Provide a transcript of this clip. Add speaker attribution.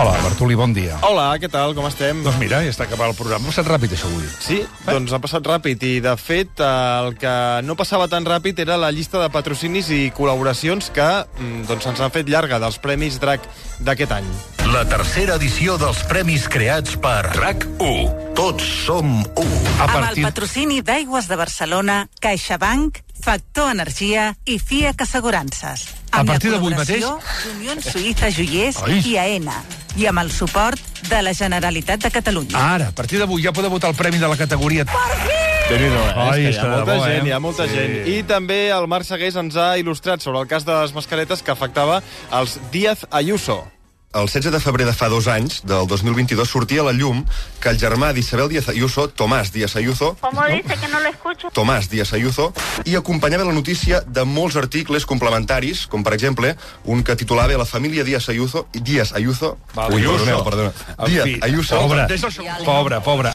Speaker 1: Hola, Bartoli, bon dia.
Speaker 2: Hola, què tal? Com estem?
Speaker 1: Doncs mira, ja està acabat el programa. Ha passat ràpid, això, avui.
Speaker 2: Sí, doncs ha passat ràpid i, de fet, eh, el que no passava tan ràpid era la llista de patrocinis i col·laboracions que mm, doncs, ens han fet llarga dels Premis DRAC d'aquest any.
Speaker 3: La tercera edició dels premis creats per RAC1. Tots som un.
Speaker 1: A
Speaker 4: Amb el patrocini d'Aigües de Barcelona, CaixaBank, Factor Energia i FIAC Assegurances.
Speaker 1: A
Speaker 4: Amb la
Speaker 1: partir d'avui
Speaker 4: col·laboració d'Unió Suïssa Joiers
Speaker 1: Ai.
Speaker 4: i AENA. I amb el suport de la Generalitat de Catalunya.
Speaker 1: Ara, a partir d'avui ja podeu votar el premi de la categoria...
Speaker 2: déu nhi
Speaker 1: Ai,
Speaker 2: hi
Speaker 1: està
Speaker 2: ha
Speaker 1: de
Speaker 2: molta
Speaker 1: bo, eh?
Speaker 2: gent, hi ha molta
Speaker 1: Sí.
Speaker 2: gent. I també el Marc Segués ens ha il·lustrat sobre el cas de les mascaretes que afectava els Díaz Ayuso.
Speaker 5: El 16 de febrer de fa dos anys, del 2022, sortia a la llum que el germà d'Isabel Díaz Ayuso, Tomás Díaz Ayuso,
Speaker 6: ¿Cómo dice que no lo escucho?
Speaker 5: Tomás Díaz Ayuso, i acompanyava la notícia de molts articles complementaris, com per exemple un que titulava La família Díaz Ayuso, Díaz Ayuso,
Speaker 1: Val,
Speaker 5: ui,
Speaker 1: Ayuso.
Speaker 5: perdoneu, perdona,
Speaker 1: En
Speaker 5: Díaz
Speaker 1: fi,
Speaker 5: Ayuso,
Speaker 1: Pobre, pobre, pobre.